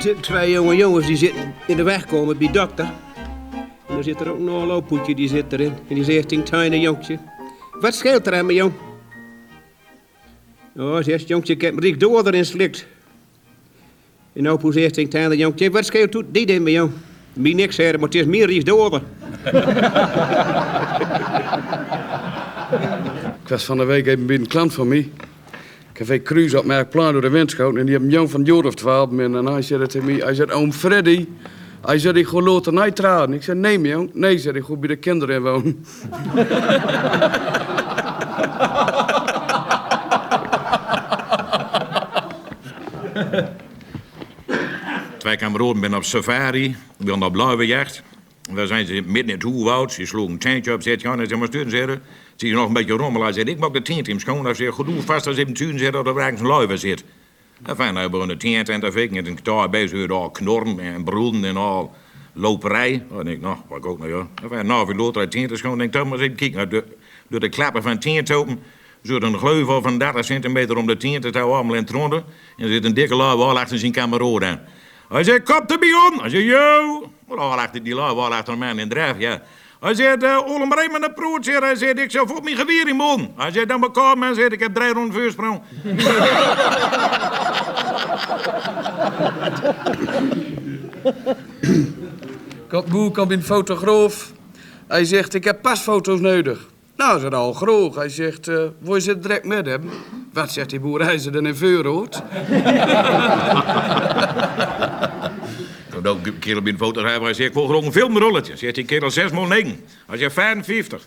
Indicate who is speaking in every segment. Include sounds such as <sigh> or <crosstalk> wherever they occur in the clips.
Speaker 1: zitten twee jonge jongens die zitten in de weg komen bij de dokter. En er zit er ook een oorlooppoetje die zit erin. En die zegt tegen Tijne jonkje. Wat scheelt er aan me, jong? Oh, zegt jonkje, ik heb me riek door erin slikt. En opoe zegt tegen Tijne jonkje. Wat scheelt toe- die in me, jong? Mij niks, heren, maar het is meer riek door.
Speaker 2: Ik was van de week even bij een klant van mij. Café Cruise had mij plan door de wind geschoten. En die hebben een jong van een jaar of twaalf. En dan hij zei dat tegen mij. Hij zei, oom Freddy. Hij zei, ik ga later naar trouwen. Ik zei, nee, jong. Nee, zei hij, ik ga bij de kinderen in wonen.
Speaker 3: Twee kameraden ben op safari, ben op luienjacht. Daar zijn ze midden in het oerwoud. Ze sloegen een tentje op, zegt Jan, en ze maar sturen zeggen. Ze is nog een beetje rommel. Hij zegt, ik maak de tent in schoon. Hij zegt, goed doe vast als even tuin zit dat er ergens een luier zit. En fijn, hij begon de tent en te fikken. En toen daar bezig werd al knorren en broeden en al loperij. Dan denk ik, nou, wat ook nou, ja. En fijn, nou, ik loter uit de tent is schoon. denk ik, toch maar eens even kijken. Nou, Door, door de klappen van de tent open. Zo'n een gleuvel van 30 centimeter om de tent. Het houdt allemaal in het ronde. En er zit een dikke lui wal achter zijn kameroor aan. Hij zei, kop de bion. Hij zei, yo. Maar al achter die lui, al achter een man in drijf, ja. Hij zei, uh, Olem Breed met een proot, zei hij. Hij zei, ik zou voor mijn geweer in mon. Hij zei, dan bekam, hij zei, ik heb drie ronden voorsprong.
Speaker 2: Ik had boer, kwam een fotograaf. Hij zegt, ik heb pasfoto's nodig. Nou, ze al groot. Hij zegt, eh wil je ze direct met hebben? Wat zegt die boer, hij is er dan in Veuroord.
Speaker 3: Toen ook een kerel bij een foto hebben, hij zei, ik wil gewoon een filmrolletje. Zegt die kerel, 6 x 9. Hij zei, 55.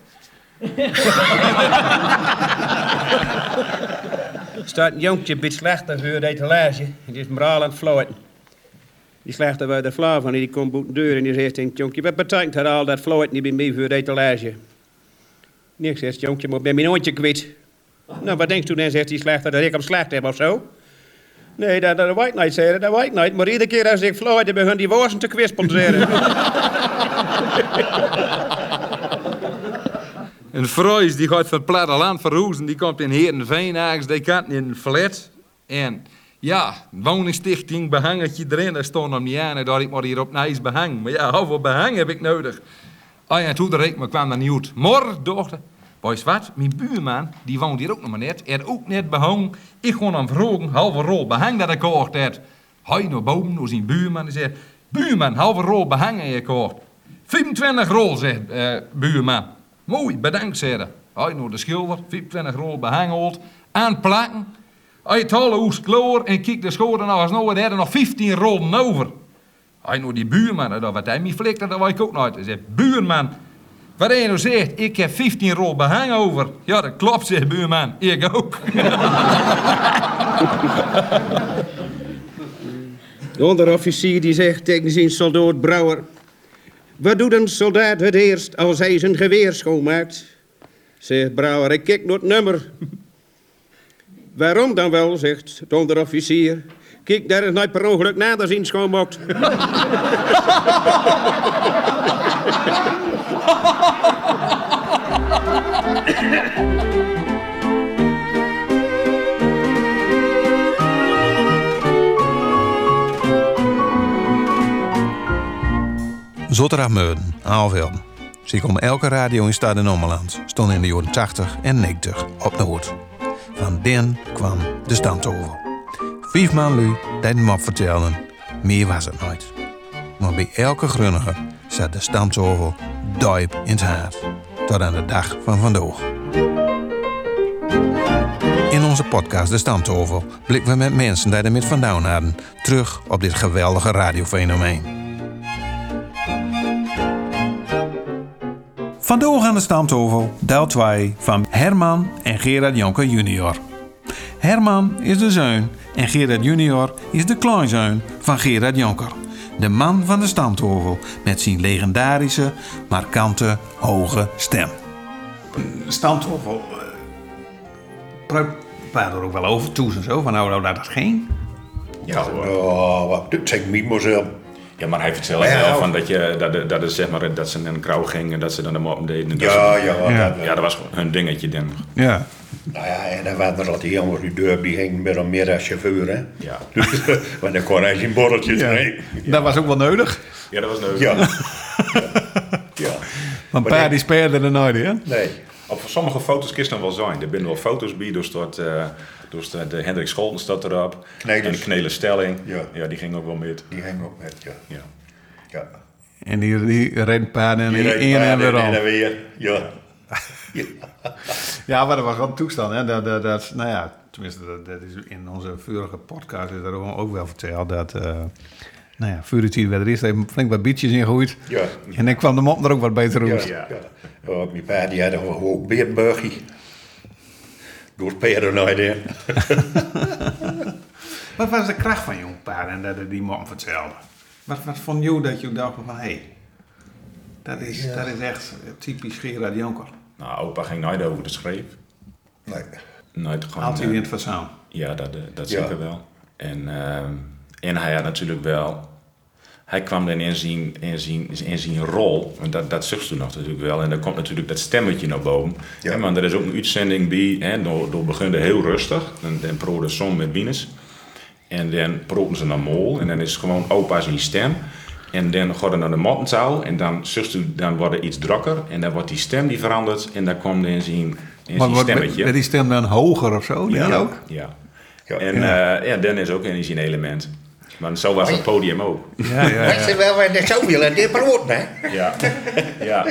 Speaker 1: staat een jonkje een beetje slechter voor het etalage. Het is moraal aan het floten. Die slechter bij de vla van die komt boven de deur en die zegt tegen het jonkje... Wat betekent dat al dat floten niet bij mij voor het etalage? Niks, zegt het jonkje, maar ik ben mijn oontje kwijt. Nou, wat denkt u dan, zegt die slechter, dat ik hem slecht heb of zo? Nee, dat, dat weet ik niet, zei hij, dat weet ik niet. Maar iedere keer als ik floten, begon die worsten te kwispelen, zei hij.
Speaker 4: Een Freus die gaat van het platteland verroezen, die komt in Heerenveen ergens, die kan in een flat. En ja, een woningstichting, behangetje erin, daar stond hem niet aan en daar ik maar hier op nice behang. Maar ja, hoeveel behang heb ik nodig? Ah ja, toen de me kwam dat niet uit. Mor, dochter, weet je wat, mijn buurman, die woont hier ook nog maar net, er ook net behang. Ik gewoon hem vragen, halve rol behang dat ik kocht heb. Hij naar boven, naar zijn buurman, en zegt, buurman, halve rol behang heb je kocht. 25 rol, zegt eh, buurman. Mooi, bedankt, zei hij. Hij naar de schilder, 25 rol behangeld, aan het plakken. Hij het hele hoes kloor en kijkt de schoren nog eens naar, daar er nog 15 rollen over. Hij naar die buurman, en dat wat hij mij flikte, dat weet ik ook nooit. Hij zegt, buurman, wat hij nou zegt, ik heb 15 rol behang over. Ja, dat klopt, zegt buurman, ik ook.
Speaker 1: De onderofficier die zegt tegen zijn soldaat Brouwer... Wat doet een soldaat het eerst als hij zijn geweer schoonmaakt? Zegt Brouwer, ik kijk naar het nummer. Waarom dan wel, zegt de onderofficier. Kijk, daar is nooit per ongeluk naders in schoonmaakt.
Speaker 5: Zotteragmeuden, Aalvelden. Ze komen elke radio in Stad en Ommeland. Stond in de jaren 80 en 90 op Noord. Van den kwam de stand over. Vijf man lui dat hem op vertelden. Meer was het nooit. Maar bij elke grunniger zat de stamtovel duip in het hart. Tot aan de dag van vandaag. In onze podcast De Stamtovel blikken we met mensen die er met vandaan hadden... terug op dit geweldige radiofenomeen.
Speaker 6: Vandoor aan de stamtovel, deel 2 van Herman en Gerard Jonker junior. Herman is de zoon en Gerard junior is de kleinzoon van Gerard Jonker. De man van de stamtovel met zijn legendarische, markante, hoge stem. Stamtovel, praat er ook wel over toes en zo, van nou, nou dat het geen.
Speaker 7: Ja, oh, wat dat zeg ik niet mezelf.
Speaker 8: Ja, maar hij vertelde
Speaker 7: Ja,
Speaker 8: wel
Speaker 7: of-
Speaker 8: van dat, je, dat, de- dat, het, zeg maar, dat ze naar een krauw gingen en dat ze dan de moppen deden. en dat
Speaker 7: Ja,
Speaker 8: ze-
Speaker 7: ja,
Speaker 6: Ja.
Speaker 7: dat wel.
Speaker 8: ja, dat was hun dingetje dan.
Speaker 6: Ja. Nou ja, en dan waren er al die jongens die deur, die gingen met hem meer als chauffeur, hè.
Speaker 8: Ja.
Speaker 6: Dus, want dan kon hij zijn borreltje drinken.
Speaker 5: Dat was ook wel nodig.
Speaker 8: <laughs> Ja, dat was leuk.
Speaker 6: Ja.
Speaker 8: <laughs>
Speaker 6: ja.
Speaker 5: Want
Speaker 6: Maar
Speaker 5: pa
Speaker 6: nee.
Speaker 5: die speerde er nooit, hè?
Speaker 6: Nee.
Speaker 8: Op sommige foto's kist dan wel zijn. Er binnen wel foto's bij, dus dat, eh dus de, de Hendrik Scholten staat erop.
Speaker 6: Knelers.
Speaker 8: En Knele Stelling.
Speaker 6: Ja.
Speaker 8: die ging ook wel met.
Speaker 6: Die ging ook met, ja.
Speaker 8: Ja.
Speaker 6: ja.
Speaker 5: En die, die reed pa en
Speaker 6: Die
Speaker 5: in
Speaker 6: reed
Speaker 5: en
Speaker 6: paarden
Speaker 5: weer
Speaker 6: in
Speaker 5: om.
Speaker 6: en weer. Ja. ja.
Speaker 5: Ja, maar dat was gewoon een toestand, hè? Dat, dat, dat, nou ja, tenminste, dat, dat is in onze vorige podcast is dat ook ook wel verteld. Dat, eh nou ja, Furitier werd er eerst even flink wat biertjes ingegroeid.
Speaker 6: Ja.
Speaker 5: En dan kwam de mop er ook wat beter
Speaker 6: Ja,
Speaker 5: uit.
Speaker 6: ja. Oh, mijn pa die had een hoog beerburgie. Door Peter nooit in.
Speaker 5: Wat was de kracht van jong paard en dat het die man vertelde? Wat, wat vond jou dat je dacht van, hé, hey, dat, is, dat is echt typisch Gerard Jonker.
Speaker 8: Nou, opa ging nooit over de schreef.
Speaker 6: Nee.
Speaker 8: Nooit gewoon.
Speaker 5: Haalt hij
Speaker 8: eh,
Speaker 5: in het verzaam.
Speaker 8: Ja, dat, eh, dat
Speaker 6: Ja.
Speaker 8: zeker wel. En, ehm, en hij had natuurlijk wel... Hij kwam dan in zijn, in zijn, in zijn rol, en dat, dat zucht toen nog natuurlijk wel. En dan komt natuurlijk dat stemmetje naar boven.
Speaker 6: Ja.
Speaker 8: Hè, want er is ook een uitzending bij, hè, door, door begint het heel rustig. Dan, dan proden ze som met Wienes. En dan proden ze naar Mol. En dan is gewoon opa zijn stem. En dan gaat het naar de mattentaal. En dan, zucht u, dan wordt het iets drukker. En dan wordt die stem die verandert. En dan komt dan zijn, in zijn
Speaker 5: wordt-
Speaker 8: stemmetje.
Speaker 5: werd die stem dan hoger of zo? Ja, ook.
Speaker 8: Ja.
Speaker 6: Ja.
Speaker 8: En eh, ja, Dan is ook een zijn element. Maar zo was het podium ook.
Speaker 5: Oh, Ja, ja,
Speaker 6: Dat is wel wat ik zou willen, dit brood, hè.
Speaker 8: Ja. <laughs> ja.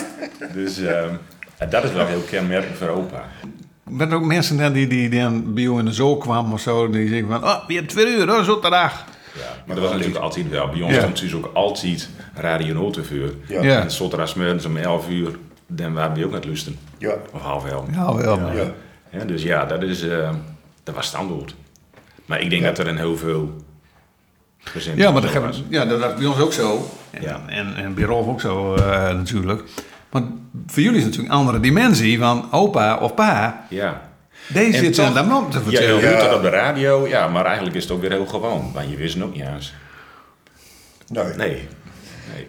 Speaker 8: Dus ehm, ja, dat is wel heel kenmerkend voor opa.
Speaker 5: Werden er ook mensen dan die, die dan bij jou in de zool kwamen of zo, die zeggen van, oh, weer twee uur, hoor, zo'n dag.
Speaker 8: Ja. Maar dat was natuurlijk altijd wel. Bij ons
Speaker 5: Ja.
Speaker 8: stond dus ook altijd Radio Notenvuur.
Speaker 6: Ja.
Speaker 5: Ja.
Speaker 8: En zondagmiddags om 11 uur, dan waren we ook aan het lusten.
Speaker 6: Ja.
Speaker 8: Of half elf.
Speaker 5: Ja, Oh, wel. maar-
Speaker 6: Ja.
Speaker 8: Ja, dus ja, dat, is, ehm, dat was standaard. Maar ik denk dat er een heel veel gezinnen
Speaker 5: Ja, maar dat,
Speaker 8: zo
Speaker 5: gaat-
Speaker 8: was.
Speaker 5: ja, dat was bij ons ook zo. En,
Speaker 8: Ja.
Speaker 5: en, en bij Rolf ook zo eh, natuurlijk. Maar voor jullie is het natuurlijk een andere dimensie, want opa of pa,
Speaker 8: Ja.
Speaker 5: deze
Speaker 8: En
Speaker 5: zit
Speaker 8: toch-
Speaker 5: aan de man te
Speaker 8: Ja, je
Speaker 5: vertellen.
Speaker 8: hoort
Speaker 5: Ja,
Speaker 8: dat op de radio, ja, maar eigenlijk is het ook weer heel gewoon. Want je wist het ook niet eens.
Speaker 6: Nee. nee.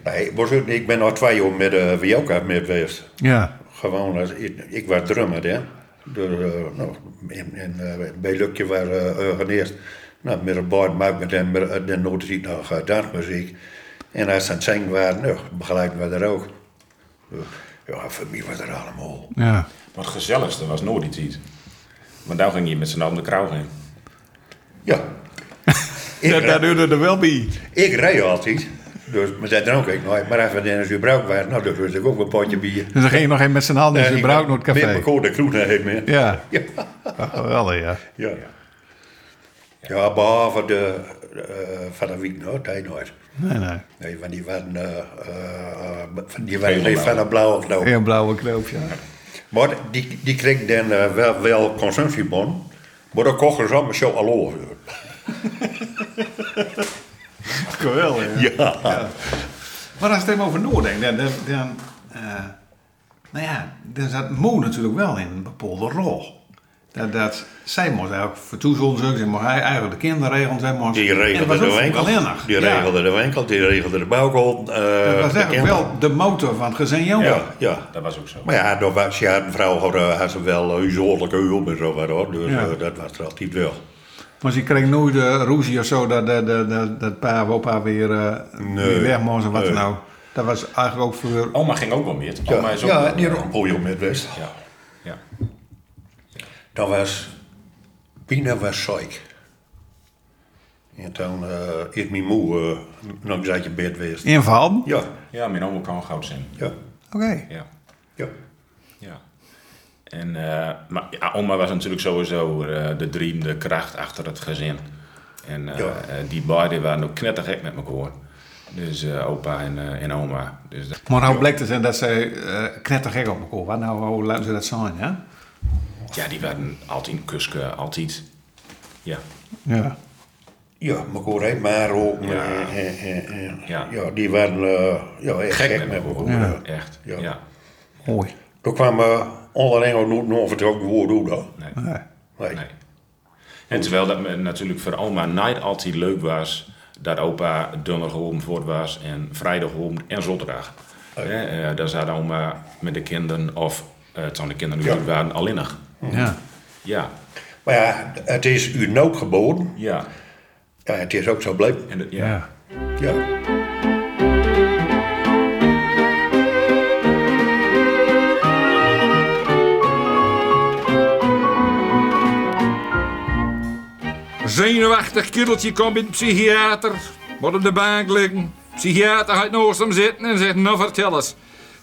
Speaker 8: Nee.
Speaker 6: was ook, niet- ik ben al twee jaar met eh, de Wioka mee geweest.
Speaker 5: ja.
Speaker 6: Gewoon, als, ik, ik was drummer, hè. Dus, eh, nou, en, en eh, bij Lukje was eh, organist. Nou, met een baard maken en met, eh, de noten ziet nog eh, dansmuziek. En als ze aan het zingen waren, nou, begeleid we er ook. Dus, Ja, voor mij was er allemaal.
Speaker 5: ja.
Speaker 8: Maar het gezelligste was nooit iets iets. Want daar nou ging je met z'n allen de krauw in.
Speaker 6: Ja. ik,
Speaker 5: Daar
Speaker 6: rij-
Speaker 5: duurde er wel bij.
Speaker 6: ik rij altijd. Dus, maar dat dronk ik nooit. Maar even in een bruik waren, nou, dat was ik ook een potje bier.
Speaker 5: Dus dan ging je nog even met z'n handen in zijn
Speaker 6: Met
Speaker 5: bruiknootcafé.
Speaker 6: mijn koude kroen heen, meer.
Speaker 5: Ja,
Speaker 6: Ja.
Speaker 5: Ah, geweldig ja.
Speaker 6: Ja. Ja, behalve de, eh, van de week nooit, hij nooit.
Speaker 5: Nee, nee.
Speaker 6: Nee, want die waren, eh, eh, van die waren
Speaker 8: Geel-blauw.
Speaker 6: van een blauwe knoop.
Speaker 5: Een blauwe knoop, ja.
Speaker 6: Maar die, die kreeg dan eh, wel, wel consumptiebon, maar dan kochten ze allemaal zo aloe.
Speaker 5: <laughs> Geweldig, ja.
Speaker 6: Ja.
Speaker 5: Maar als ik er even over nadenk, dan, dan, dan, eh, nou ja, dan zat Mo natuurlijk wel in een bepaalde rol. Dat, dat, zij moest eigenlijk voor toezorgen, zij moest eigenlijk de kinderen regelen, zij moest...
Speaker 6: Die
Speaker 5: en dat
Speaker 6: regelde
Speaker 5: was ook
Speaker 6: de winkel,
Speaker 5: voorbeeldig.
Speaker 6: die
Speaker 5: Ja,
Speaker 6: regelde de winkel, die regelde de bouwkool. eh,
Speaker 5: Dat was eigenlijk wel de motor van het gezin Jonker.
Speaker 6: Ja, ja.
Speaker 8: Dat was ook zo.
Speaker 6: Maar ja, dan was, ja, een vrouw had, eh, had ze wel uh, zorgelijke hulp en zo, wat, hoor. dus
Speaker 5: Ja.
Speaker 6: eh, dat was er altijd wel.
Speaker 5: Maar ze kreeg nooit de roezie of zo dat, dat, dat, dat, dat pa of opa weer, eh, weer weg moest of wat dan
Speaker 6: Nee.
Speaker 5: ook. Dat was eigenlijk ook voor...
Speaker 8: Oma ging ook wel meer. Oma
Speaker 6: Ja,
Speaker 8: is ook
Speaker 6: ja
Speaker 8: wel- eh,
Speaker 6: die rompel met West.
Speaker 8: Ja. ja.
Speaker 6: Dat was. Pina was ziek. En toen eh, is mijn moe eh, nog eens uit je bed geweest.
Speaker 5: Inval?
Speaker 6: Ja,
Speaker 8: Ja, mijn oma kan goud zijn.
Speaker 6: ja,
Speaker 5: Oké.
Speaker 8: Ja.
Speaker 6: ja.
Speaker 8: Ja. En, eh, maar ja, oma was natuurlijk sowieso eh, de dream, de kracht achter het gezin. En eh,
Speaker 6: Ja.
Speaker 8: eh, die beiden waren ook knettergek met elkaar. Dus eh, opa en, eh, en oma. Dus dat-
Speaker 5: Maar nou bleek het zijn dat zij eh knettergek op elkaar waren. Nou, hoe laten ze dat zijn, hè?
Speaker 8: ja, die waren altijd kusken, altijd. Ja.
Speaker 5: Ja.
Speaker 6: Ja, maar hoor heet maar ook. eh,
Speaker 8: Ja.
Speaker 6: eh, eh, eh.
Speaker 8: Ja.
Speaker 6: Ja, die waren eh, ja, echt
Speaker 8: Gek, met
Speaker 6: elkaar.
Speaker 8: elkaar.
Speaker 6: Ja.
Speaker 8: Echt.
Speaker 6: Ja.
Speaker 8: ja.
Speaker 5: Mooi.
Speaker 6: Toen kwam eh, onderling ook nooit nog vertrokken woord hoe dan.
Speaker 8: Nee.
Speaker 6: Nee.
Speaker 8: Nee. En terwijl dat me natuurlijk voor oma niet altijd leuk was, dat opa donderdagavond voort was en vrijdagavond en zondag. Eh, eh, dan zaten oma met de kinderen of eh, het zijn de kinderen die
Speaker 6: Ja.
Speaker 8: er waren alleenig.
Speaker 5: Ja.
Speaker 8: Ja,
Speaker 6: Maar ja, het is u nou geboden.
Speaker 8: ja.
Speaker 6: Ja, het is ook zo blijven.
Speaker 8: En dat- ja.
Speaker 6: Ja.
Speaker 4: Zenuwachtig kiddeltje komt bij de psychiater. Wordt op de bank liggen. Psychiater gaat naast hem zitten en zegt, nou vertel eens.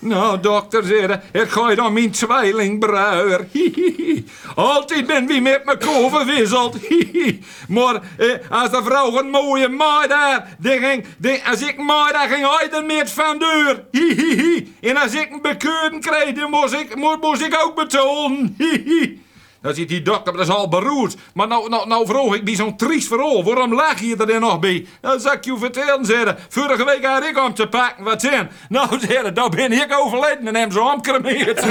Speaker 4: Nou, dokter, zegt hij, ik ga dan mijn zweiling bruier. Hihihi. Altijd ben wie met me koven wisselt. Hihi. Maar eh, als de vrouw een mooie maai daar, die ging, die, als ik maai daar ging hij er met van deur. Hihihi. En als ik een bekeuring kreeg, dan moest ik, moest, moest ik ook betalen. Hihi. Dan zit die dokter, dat is al beroerd. Maar nou, nou, nou vroeg ik die zo'n triest verhaal. Waarom lag je er dan nog bij? Dan zal ik je vertellen, zeiden. Vorige week had ik om te pakken wat zin. Nou, zeiden, dan ben ik overleden en hem zo omkremeerd.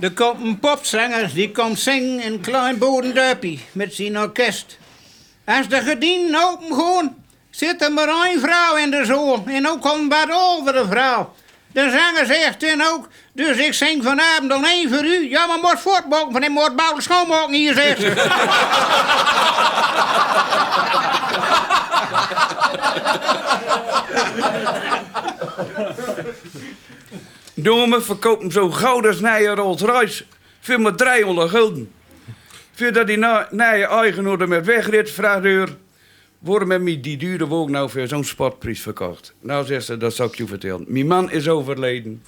Speaker 9: Er komt een popzanger die komt zingen in Klein Bodendorpie met zijn orkest. Als de gedienden opengaan, zit er maar één vrouw in de zaal en ook komt wat oudere vrouw. De zanger zegt dan ook, dus ik zing vanavond alleen voor u. Ja, maar moet voortbokken, want ik moet bouwen schoonmaken hier, zegt ze.
Speaker 2: Jongen, verkoop hem zo goud als naar je Rolls Royce. Voor maar 300 gulden. Voordat die na- naar je eigenaar er met wegrit, vraagt de heer... Waarom heb je die dure woog nou voor zo'n spotprijs verkocht? Nou, zegt ze, dat zal ik je vertellen. Mijn man is overleden.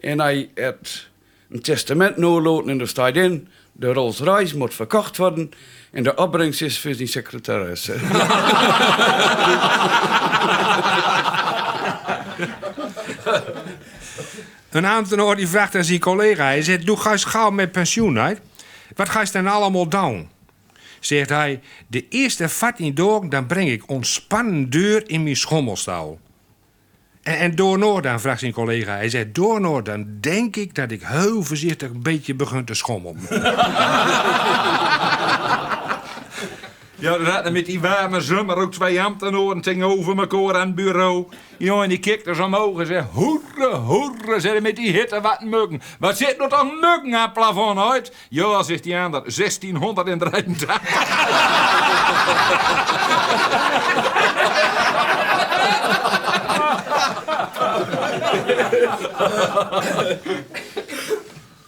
Speaker 2: En hij heeft een testament noodloten en er staat in... De Rolls Royce moet verkocht worden en de opbrengst is voor zijn secretaris.
Speaker 10: Een ambtenaar die vraagt aan zijn collega. Hij zegt, doe ga eens gauw met pensioen uit. Wat ga je dan allemaal doen? Zegt hij, de eerste 14 dagen dan breng ik ontspannen deur in mijn schommelstouw. En, en door Noord dan, vraagt zijn collega. Hij zegt, door Noord dan denk ik dat ik heel voorzichtig een beetje begin te schommelen.
Speaker 4: Ja, er zaten met die warme zomer ook twee ambtenaren tegenover elkaar aan het bureau. Ja, en die kikte ze omhoog en zei... Hoerre, hoerre, zeiden met die hitte wat muggen. Wat zit er toch muggen aan het plafond uit? Ja, zegt die ander, 1683.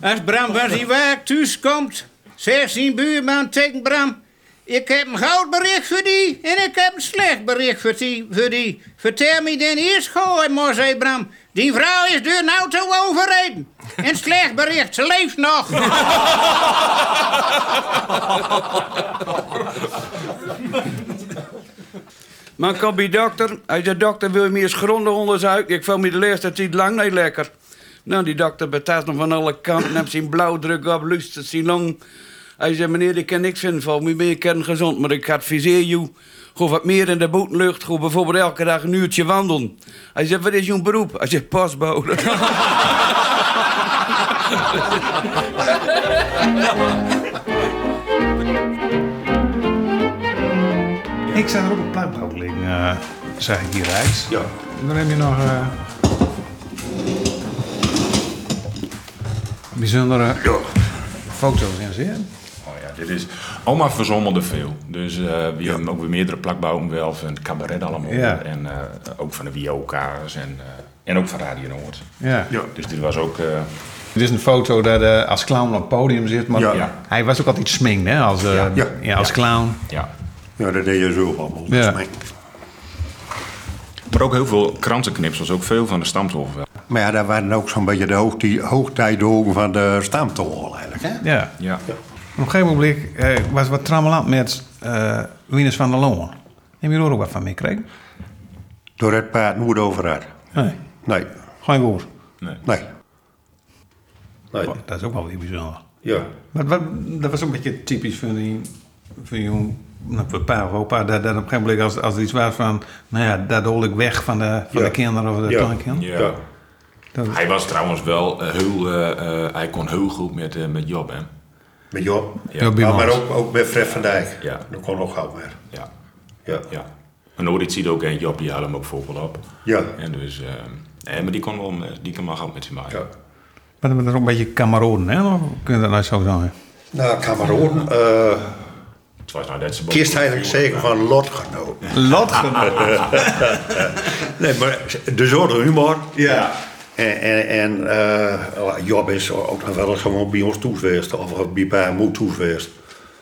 Speaker 9: Als Bram van zijn werk thuis komt, zegt zijn buurman tegen Bram... Ik heb een goud bericht voor die en ik heb een slecht bericht voor die. Voor die. Vertel me dan eerst gooi, maar zei Bram. Die vrouw is door een auto overreden. Een slecht bericht, ze leeft nog.
Speaker 2: Maar ik kom bij dokter. Hij zei, dokter, wil je me eens gronden onder zijn huid? Ik vond me de laatste tijd lang niet lekker. Nou, die dokter betaalt hem van alle kanten. Heeft zijn blauwdruk op, luistert zijn long. Hij zei, meneer, ik kan niks vinden van me. Ik ben kerngezond, maar ik adviseer jou. Ga wat meer in de buitenlucht. Ga bijvoorbeeld elke dag een uurtje wandelen. Hij zei, wat is jouw beroep? Hij zei, pasbode.
Speaker 5: Ik zag er ook een pluimbrood liggen, eh, zag ik hier rechts.
Speaker 6: Ja.
Speaker 5: En dan heb je nog... eh, bijzondere foto's in zitten.
Speaker 8: Oh ja, dit is... Oma verzomelde veel. Dus eh, we hebben ook weer meerdere plakbouwen wel van het cabaret allemaal.
Speaker 5: Ja.
Speaker 8: En eh, ook van de Wioka's en, eh, en ook van Radio Noord.
Speaker 5: Ja.
Speaker 8: Dus dit was ook... eh,
Speaker 5: Dit is een foto dat eh, als clown op het podium zit, maar
Speaker 6: Ja.
Speaker 8: Ja.
Speaker 5: hij was ook altijd sminkt, hè? Als, eh, ja.
Speaker 6: Ja.
Speaker 5: als clown.
Speaker 8: ja.
Speaker 6: Ja, dat deed je zo allemaal.
Speaker 5: Ja.
Speaker 8: Maar ook heel veel krantenknipsels, ook veel van de stamtolf wel.
Speaker 6: Maar ja, dat waren ook zo'n beetje de hoogtie- hoogtijdagen van de staamtol eigenlijk. Hè?
Speaker 5: Ja.
Speaker 8: Ja.
Speaker 5: Op een gegeven moment eh, was wat trammeland met eh Wieners van der Loon. Heb je er ook wat van meegekregen?
Speaker 6: Door het paard nooit over had.
Speaker 5: Nee.
Speaker 6: Nee,
Speaker 5: Geen woord.
Speaker 6: nee. Nee,
Speaker 5: Dat is ook wel weer bijzonder.
Speaker 6: ja.
Speaker 5: Maar wat, dat was ook een beetje typisch van die... Van jou, nou, voor pa of opa, dat, dat op een gegeven moment als, als er iets was van... Nou ja, daar hol ik weg van de, van
Speaker 6: Ja.
Speaker 5: de kinderen of de
Speaker 6: Ja.
Speaker 5: kleinkinderen.
Speaker 8: Ja. Hij was trouwens wel eh, heel... eh, eh, hij kon heel goed met, eh, met Job, hè.
Speaker 6: Met Job.
Speaker 8: Ja, bij
Speaker 6: maar, maar
Speaker 8: Mans.
Speaker 6: ook, ook met Fred van Dijk.
Speaker 8: Ja.
Speaker 6: Dat kon ook gauw weer.
Speaker 8: Ja.
Speaker 6: Ja.
Speaker 8: ja. En Odit ziet ook een Job, die had hem ook voorbeeld op.
Speaker 6: Ja.
Speaker 8: En dus, eh, nee, maar die kon wel, eh, die kan wel gauw met zijn maken.
Speaker 11: Maar dat is ook een beetje kameraden, hè? Of kun je dat nou zo zeggen?
Speaker 6: Nou, Cameroen. eh
Speaker 8: Het was nou dat ze
Speaker 6: kiest eigenlijk zeker van lotgenoot.
Speaker 11: Lotgenoot.
Speaker 6: nee, maar de zorg humor. Ja. En, en, en eh, Job is ook nog wel eens gewoon bij ons toe geweest. Of bij bij moe toe geweest.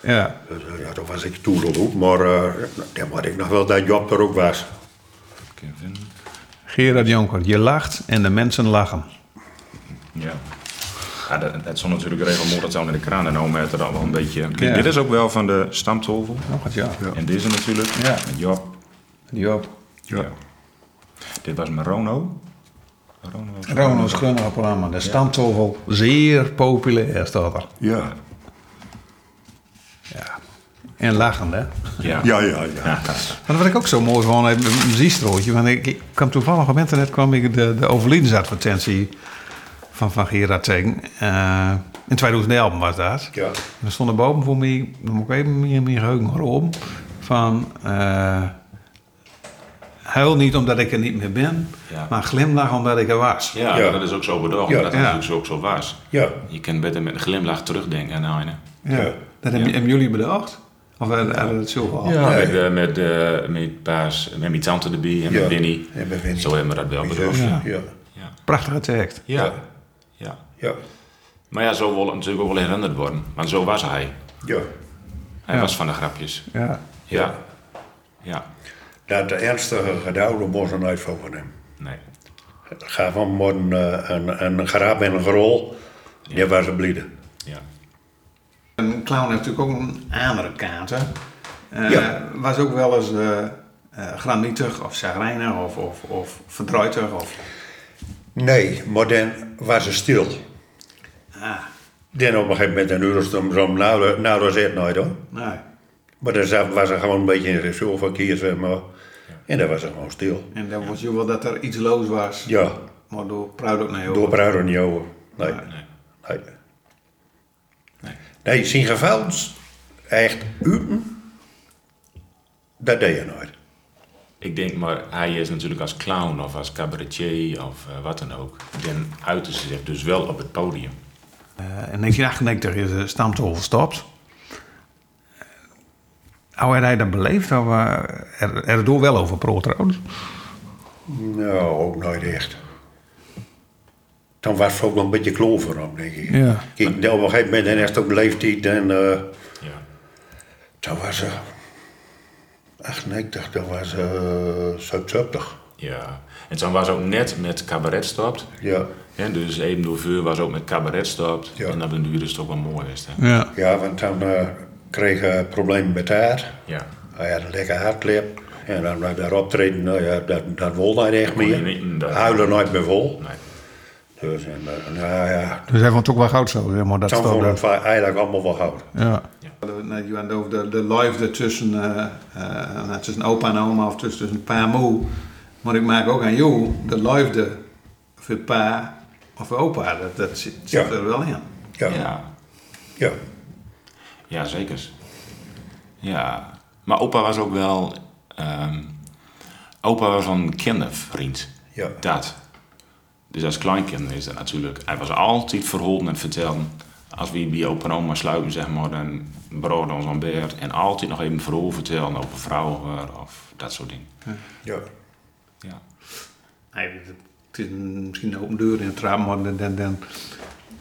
Speaker 11: Ja.
Speaker 6: Dus, eh, ja, toen was ik toedeloed. Maar eh dan had ik nog wel dat Job er ook was.
Speaker 11: Gerard Jonker, je lacht en de mensen lachen.
Speaker 8: Ja. Ja, dat, dat stond natuurlijk regelmatig aan in de kraan en nou met er dan wel een beetje. Kijk,
Speaker 11: Ja.
Speaker 8: Dit is ook wel van de stamtovel.
Speaker 5: Oh,
Speaker 11: Nog het ja.
Speaker 8: En deze natuurlijk.
Speaker 11: Ja.
Speaker 8: Met Job.
Speaker 11: Job.
Speaker 8: Ja. Dit was met Rono. Rono was
Speaker 11: Ronald Grunnappelama, de stamtovel. Zeer populair staat er.
Speaker 6: Ja.
Speaker 11: En lachen, hè?
Speaker 8: Ja.
Speaker 6: Ja, ja, ja.
Speaker 11: Maar wat ik ook zo mooi vond, een muziestrootje. Want ik, ik kwam toevallig op internet kwam ik de, de overlijdensadvertentie van, van Gerard tegen. Eh, in 2011 was dat.
Speaker 6: Ja.
Speaker 11: Er stond er boven voor mij, dan moet ik even meer mijn geheugen erom, van... eh, huil niet omdat ik er niet meer ben,
Speaker 8: Ja.
Speaker 11: maar glimlach omdat ik er was.
Speaker 8: Ja,
Speaker 6: Ja.
Speaker 8: dat is ook zo bedoeld.
Speaker 6: Ja.
Speaker 8: Dat
Speaker 11: Ja.
Speaker 8: is natuurlijk ook zo was.
Speaker 6: Ja.
Speaker 8: Je kan beter met een glimlach terugdenken aan nou, hè.
Speaker 11: Ja. Dat hebben, hebben jullie bedacht? Of hebben hebben het zo gehad?
Speaker 8: Ja,
Speaker 6: Nee.
Speaker 8: met, eh, met, eh, met paas, met mijn tante erbij en
Speaker 6: Ja.
Speaker 8: met Winnie.
Speaker 6: En met Winnie.
Speaker 8: Zo hebben we dat wel
Speaker 6: Mijn
Speaker 8: bedoeld.
Speaker 6: zus,
Speaker 11: Ja.
Speaker 6: ja.
Speaker 11: Prachtige tekst.
Speaker 8: Ja. ja.
Speaker 6: Ja.
Speaker 8: Maar ja, zo wil het natuurlijk ook wel herinnerd worden. Want zo was hij.
Speaker 6: Ja.
Speaker 8: Hij
Speaker 11: Ja.
Speaker 8: was van de grapjes.
Speaker 11: Ja.
Speaker 8: Ja. Ja.
Speaker 6: Dat de ernstige gedouden moest er nooit van hem.
Speaker 8: Nee.
Speaker 6: Ga van morgen eh, een, een grap en een gerol. Die was een blieden.
Speaker 8: Ja.
Speaker 5: Een clown heeft natuurlijk ook een andere kaart. hè. Eh,
Speaker 6: Ja.
Speaker 5: Was ook wel eens eh eh, granietig of chagrijnig of, of, of verdruitig. Of,
Speaker 6: Nee, maar dan was ze stil.
Speaker 5: Ah.
Speaker 6: Dan op een gegeven moment, een uur of zo, zo, nou, nou dat is het nooit hoor.
Speaker 5: nee.
Speaker 6: Maar dan zat- was ze gewoon een beetje in ritueel van kier, zeg maar. En dan was ze gewoon stil.
Speaker 5: En dan was je wel dat er iets loos was.
Speaker 6: Ja,
Speaker 5: Maar door pruid ook Ah, naar jou.
Speaker 6: door Bruin niet over. Nee. Nee. Nee, zijn geval echt uten, dat deed je nooit.
Speaker 8: Ik denk, maar hij is natuurlijk als clown of als cabaretier of eh, wat dan ook. Dan uiten ze zich dus wel op het podium.
Speaker 11: Eh, in 1998 is de stamtol verstopt. Hoe had hij dat beleefd? Of, eh, er, er door wel over pro trouwens.
Speaker 6: Nou, ook nooit echt. Dan was het ook wel een beetje klover om, denk ik.
Speaker 11: Ja.
Speaker 6: Kijk, dan op een gegeven moment, en echt op leeftijd, en eh
Speaker 8: Ja.
Speaker 6: toen was ze... 98, dat was eh, ze 70.
Speaker 8: Ja. En toen was ook net met cabaret stopt.
Speaker 6: Ja.
Speaker 8: En dus even door vuur was ook met cabaret stopt.
Speaker 6: Ja.
Speaker 8: En dat ben duur is het ook wel mooi geweest. Hè?
Speaker 11: Ja.
Speaker 6: ja, want dan eh, kreeg hij problemen met haar.
Speaker 8: Ja.
Speaker 6: Hij had een lekker hartklep. En dan bleef daar optreden, nou ja, dat, dat wol hij echt
Speaker 8: kon
Speaker 6: meer.
Speaker 8: hij niet, dat-
Speaker 6: Huilen nooit meer vol.
Speaker 8: Nee.
Speaker 6: Dus, en, eh, nou ja,
Speaker 11: Dus hij vond het ook wel goud zo, zeg maar dat
Speaker 6: dan vond ik
Speaker 11: stond.
Speaker 6: het eigenlijk allemaal wel goud.
Speaker 11: Ja.
Speaker 5: Nou, je bent over de, de liefde tussen, eh, eh, nou, tussen opa en oma of tussen, tussen pa en moe. Maar ik maak ook aan jou de liefde voor pa of voor opa. Dat, dat zit, zit
Speaker 6: Ja.
Speaker 5: er wel in.
Speaker 6: Ja, ja.
Speaker 8: Ja. Ja, zeker. Ja. Maar opa was ook wel... ehm, opa was wel een kindervriend.
Speaker 6: Ja.
Speaker 8: Dat. Dus als kleinkind is dat natuurlijk... Hij was altijd verholpen en vertellen. Als we bij opa en oma sluiten, zeg maar, dan brood ons aan beurt. En altijd nog even verhaal vertellen over vrouwen of dat soort dingen.
Speaker 6: ja.
Speaker 8: Ja.
Speaker 5: Nee, dat- het is een- misschien een open deur in het raam, maar dan, dan, dan,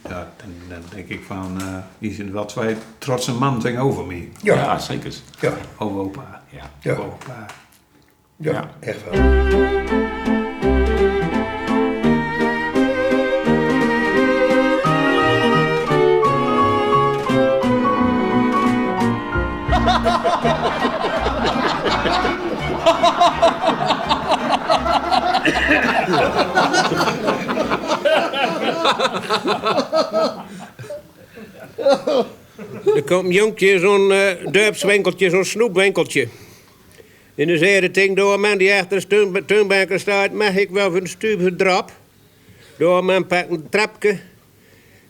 Speaker 5: ja, dan, dan denk ik van, eh hier zijn wel twee trotse man tegenover me.
Speaker 6: Ja.
Speaker 8: zeker.
Speaker 6: ja.
Speaker 5: Over opa.
Speaker 8: Ja.
Speaker 6: Ja.
Speaker 5: Over opa.
Speaker 6: Ja,
Speaker 8: Ja.
Speaker 6: echt wel.
Speaker 1: Er komt een jonkje, zo'n eh dorpswinkeltje, zo'n snoepwinkeltje. En dan zei de ding door een man die achter de steun- steunbanker staat... mag ik wel voor een stuiver drap? Door een man pakt een trapje,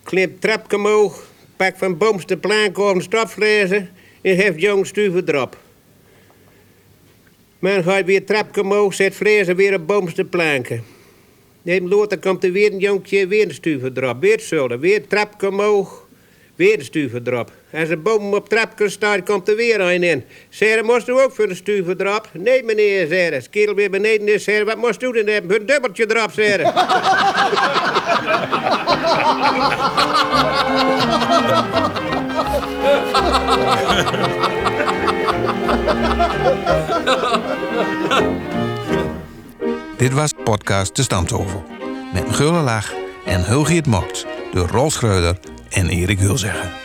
Speaker 1: klimt trapje omhoog,
Speaker 12: pak van boomste plank of een stopflezen en heeft jong stuven erop. Men gaat weer trap omhoog, zet vlezen weer op boomste planken. Neem later komt er weer een jonkje, weer een stuven erop. Weer zullen, weer trap omhoog, weer een stuven erop. Als een boom op trap kan staan, komt er weer een in. Zeggen, moest u ook voor een stuven erop? Nee, meneer, zeggen. Als kerel weer beneden is, zeggen, wat moest u dan hebben? Voor een dubbeltje erop, zeggen.
Speaker 5: Dit was de podcast De Stamtovel. Met Gulle Lach en Hulgeert Mokt door Rolf Schreuder en Erik Hulzeggen.